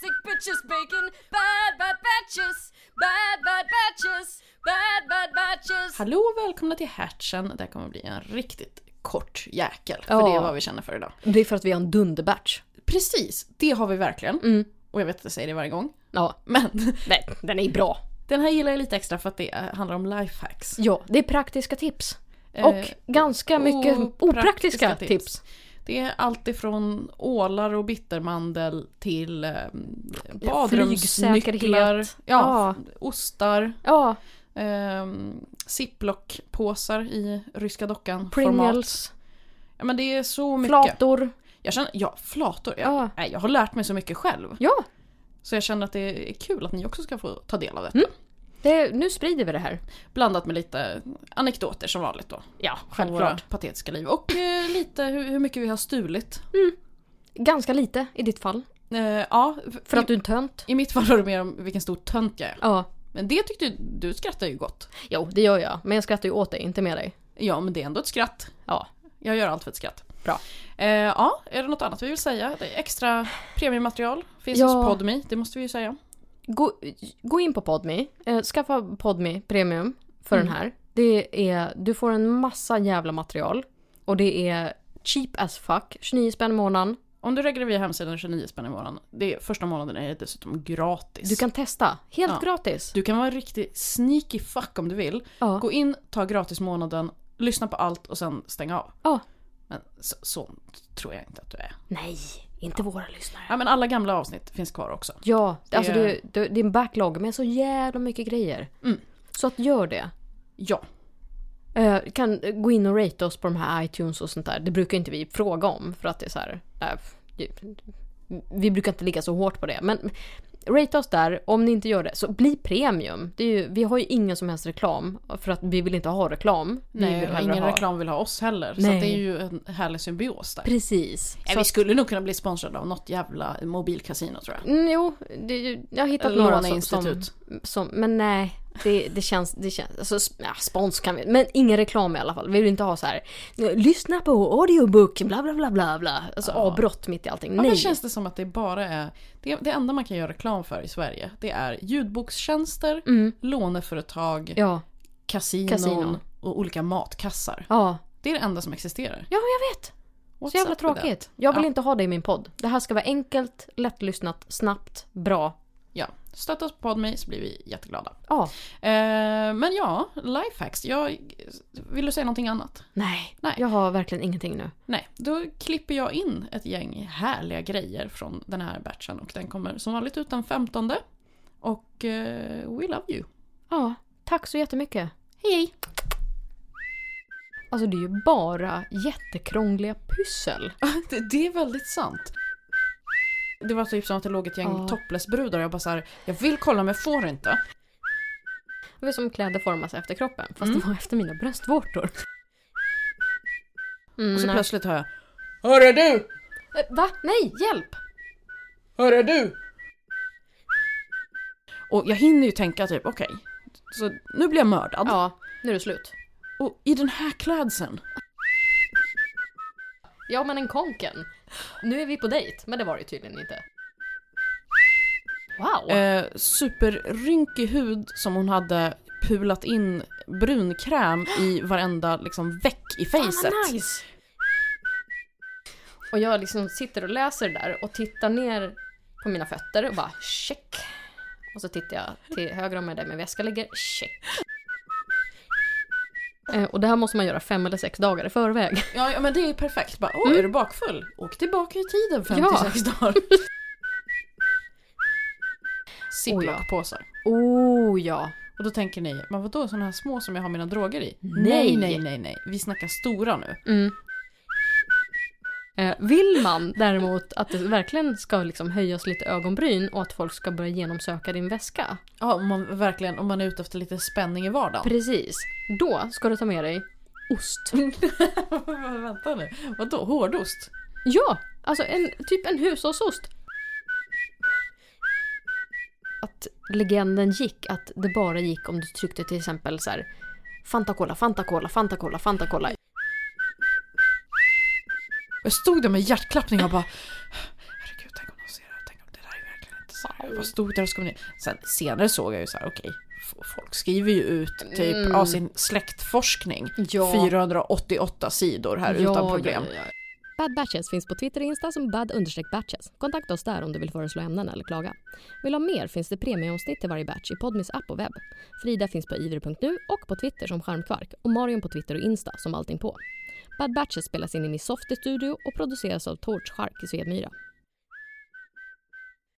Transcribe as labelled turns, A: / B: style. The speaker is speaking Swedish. A: sandwiches, bacon, bad bad batches, bad bad batches, bad bad batches.
B: Hallå och välkomna till Hertzen. Det här kommer bli en riktigt kort jäkel. För
C: Ja.
B: det är vad vi känner för idag.
C: Det är för att vi har en dunderbatch.
B: Precis, det har vi verkligen.
C: Mm.
B: Och jag vet att jag säger det varje gång.
C: Ja.
B: Men
C: Nej, den är bra.
B: den här gillar jag lite extra för att det eh, handlar om lifehacks.
C: Ja, det är praktiska tips.
B: Eh,
C: Mm. Och ganska mycket opraktiska tips.
B: Det är allt ifrån ålar och bittermandel till eh, badrumsnycklar, ja,
C: Flygsäkerhet. Ja.
B: ja. ostar,
C: Ja,
B: eh, ziplock-påsar i ryska dockan. format.
C: Pringles,
B: Ja, men det är så mycket.
C: flator.
B: Jag känner, ja, flator. Jag,
C: Ja.
B: nej, jag har lärt mig så mycket själv.
C: Ja,
B: Så jag känner att det är kul att ni också ska få ta del av
C: Mm.
B: detta.
C: det, nu sprider vi det här.
B: Blandat med lite anekdoter som vanligt då.
C: Ja,
B: Från våra patetiska liv. Och eh, lite hur, hur mycket vi har stulit.
C: Ganska lite i ditt fall.
B: Eh, ja,
C: För att du är en tönt.
B: I mitt fall var det mer om vilken stor tönt jag är.
C: Ja.
B: Men det tyckte ju- du skrattar ju gott.
C: Jo, det gör jag. Men jag skrattar ju åt dig, inte med dig.
B: Ja, men det är ändå ett skratt.
C: Ja.
B: Jag gör allt för ett skratt.
C: Bra.
B: Eh, ja, är det något annat vi vill säga? Det är extra premiummaterial finns
C: Ja.
B: hos Podmi, det måste vi ju säga.
C: Gå, gå in på Podme. Eh, skaffa Podme Premium för
B: Mm.
C: den här. Det är, du får en massa jävla material. Och det är cheap as fuck. 29 spänn i månaden.
B: Om du reggar via hemsidan 29 spänn i månaden, det är, första månaden är det dessutom gratis.
C: Du kan testa. Helt
B: Ja.
C: gratis.
B: du kan vara en riktig sneaky fuck om du vill.
C: Ja.
B: Gå in, ta gratis månaden, lyssna på allt och sen stänga av.
C: Ja.
B: Men så, så tror jag inte att du är.
C: Nej, inte våra lyssnare.
B: Ja, men alla gamla avsnitt finns kvar också.
C: Ja, det, alltså
B: Det-
C: det, det, det är en backlog med så jävla mycket grejer.
B: Mm.
C: Så att gör det.
B: Ja.
C: Eh, kan eh, gå in och rate oss på de här iTunes och sånt där. Det brukar inte vi fråga om för att det är så här. eh, vi brukar inte ligga så hårt på det. Men rate oss där. Om ni inte gör det så bli premium. Det är ju, vi har ju ingen som helst reklam för att vi vill inte ha reklam. vi
B: Nej,
C: vill
B: och
C: hellre
B: ingen
C: ha-
B: reklam vill ha oss heller. Så
C: Nej.
B: att det är ju en härlig symbios där.
C: Precis.
B: Nej,
C: Så
B: vi
C: att,
B: skulle nog kunna bli sponsrade av något jävla mobilkasino tror jag.
C: mm, jo, det, är ju- jag har hittat några som, som,
B: Låneinstitut.
C: som... Men nej, det, det känns... Det känns alltså, sp- ja, spons kan vi... Men ingen reklam i alla fall. Vi vill inte ha så här. Lyssna på audiobook, bla bla bla bla bla. Alltså avbrott mitt i allting.
B: Ja, men
C: nej.
B: känns det som att det bara är... Det, det enda man kan göra reklam för i Sverige, det är ljudbokstjänster,
C: Mm.
B: låneföretag,
C: Ja.
B: kasinon
C: Kasino.
B: och olika matkassar.
C: Ja.
B: Det är det enda som existerar.
C: Ja, jag vet.
B: What's
C: Så jävla
B: up with
C: tråkigt.
B: that?
C: Jag vill
B: Ja.
C: inte ha det i min podd. Det här ska vara enkelt, lättlyssnat, snabbt, bra.
B: Ja. Stötta oss på Podme så blir vi jätteglada.
C: Ja.
B: Eh, men ja, lifehacks. Jag, vill du säga någonting annat?
C: Nej.
B: Nej.
C: Jag har verkligen ingenting nu.
B: Nej, då klipper jag in ett gäng härliga grejer från den här batchen och den kommer som vanligt ut den 15. Och eh, we love you.
C: Ja. Tack så jättemycket.
B: Hej hej!
C: Alltså det är ju bara jättekrångliga pussel.
B: Det, det är väldigt sant. Det var typ som att det låg ett gäng
C: Ja.
B: topless-brudar och jag bara så här, jag vill kolla men jag får inte.
C: Det var som kläder formas efter kroppen. Fast det var efter mina bröstvårtor. Mm,
B: Och så
C: nej.
B: plötsligt hör jag Hörru du!
C: Eh, Va? Nej, hjälp!
B: Hörru du! Och jag hinner ju tänka typ okej, så nu blir jag mördad.
C: Ja, nu är det slut.
B: Och i den här klädseln.
C: Ja, men en konken. Nu är vi på dejt, men det var det ju tydligen inte. Wow!
B: eh, superrynkig hud som hon hade pulat in brunkräm i varenda liksom, veck i
C: Fan, vad
B: fejset.
C: Ah, nice! Och jag liksom sitter och läser det där och tittar ner på mina fötter och bara check. Och så tittar jag till höger om mig där min väska ligger, check. Eh, Och det här måste man göra fem eller sex dagar i förväg.
B: Ja, ja, men det är perfekt. Bara, Åh, är du bakfull? Åk tillbaka i tiden 56 dagar. Ziplock-påsar.
C: Oh ja.
B: Och då tänker ni, men vadå sådana här små som jag har mina droger i?
C: Nej.
B: nej, nej, nej. Vi snackar stora nu.
C: Mm. Eh, Vill man däremot att det verkligen ska liksom höjas lite ögonbryn och att folk ska börja genomsöka din väska.
B: Ja, om man verkligen, om man är ute efter lite spänning i vardagen.
C: Precis. Då ska du ta med dig ost.
B: Vänta nu, vadå hårdost?
C: Ja, alltså en, typ en hushållsost. Att legenden gick att det bara gick om du tryckte till exempel så här Fanta Cola, Fanta Cola, Fanta Cola, Fanta Cola.
B: Jag stod där med hjärtklappning och bara Herregud, tänk om de ser det här. Tänk om det där är verkligen inte sant. Vad stod där och skrev ner? Sen, senare såg jag ju så här, okej, f- folk skriver ju ut typ
D: Mm.
B: av sin släktforskning
D: Ja.
B: 488 sidor här utan problem.
D: Ja, ja,
C: Bad Batches finns på Twitter och Insta som bad-batches. Kontakta oss där om du vill föreslå ämnen eller klaga. Vill du ha mer finns det premieomsnitt till varje batch i Podmis app och webb. Frida finns på iver.nu och på Twitter som Charmkvark och Marion på Twitter och Insta som allting på. Bad Batches spelas in i Softy Studio och produceras av Torch Shark i Svedmyra.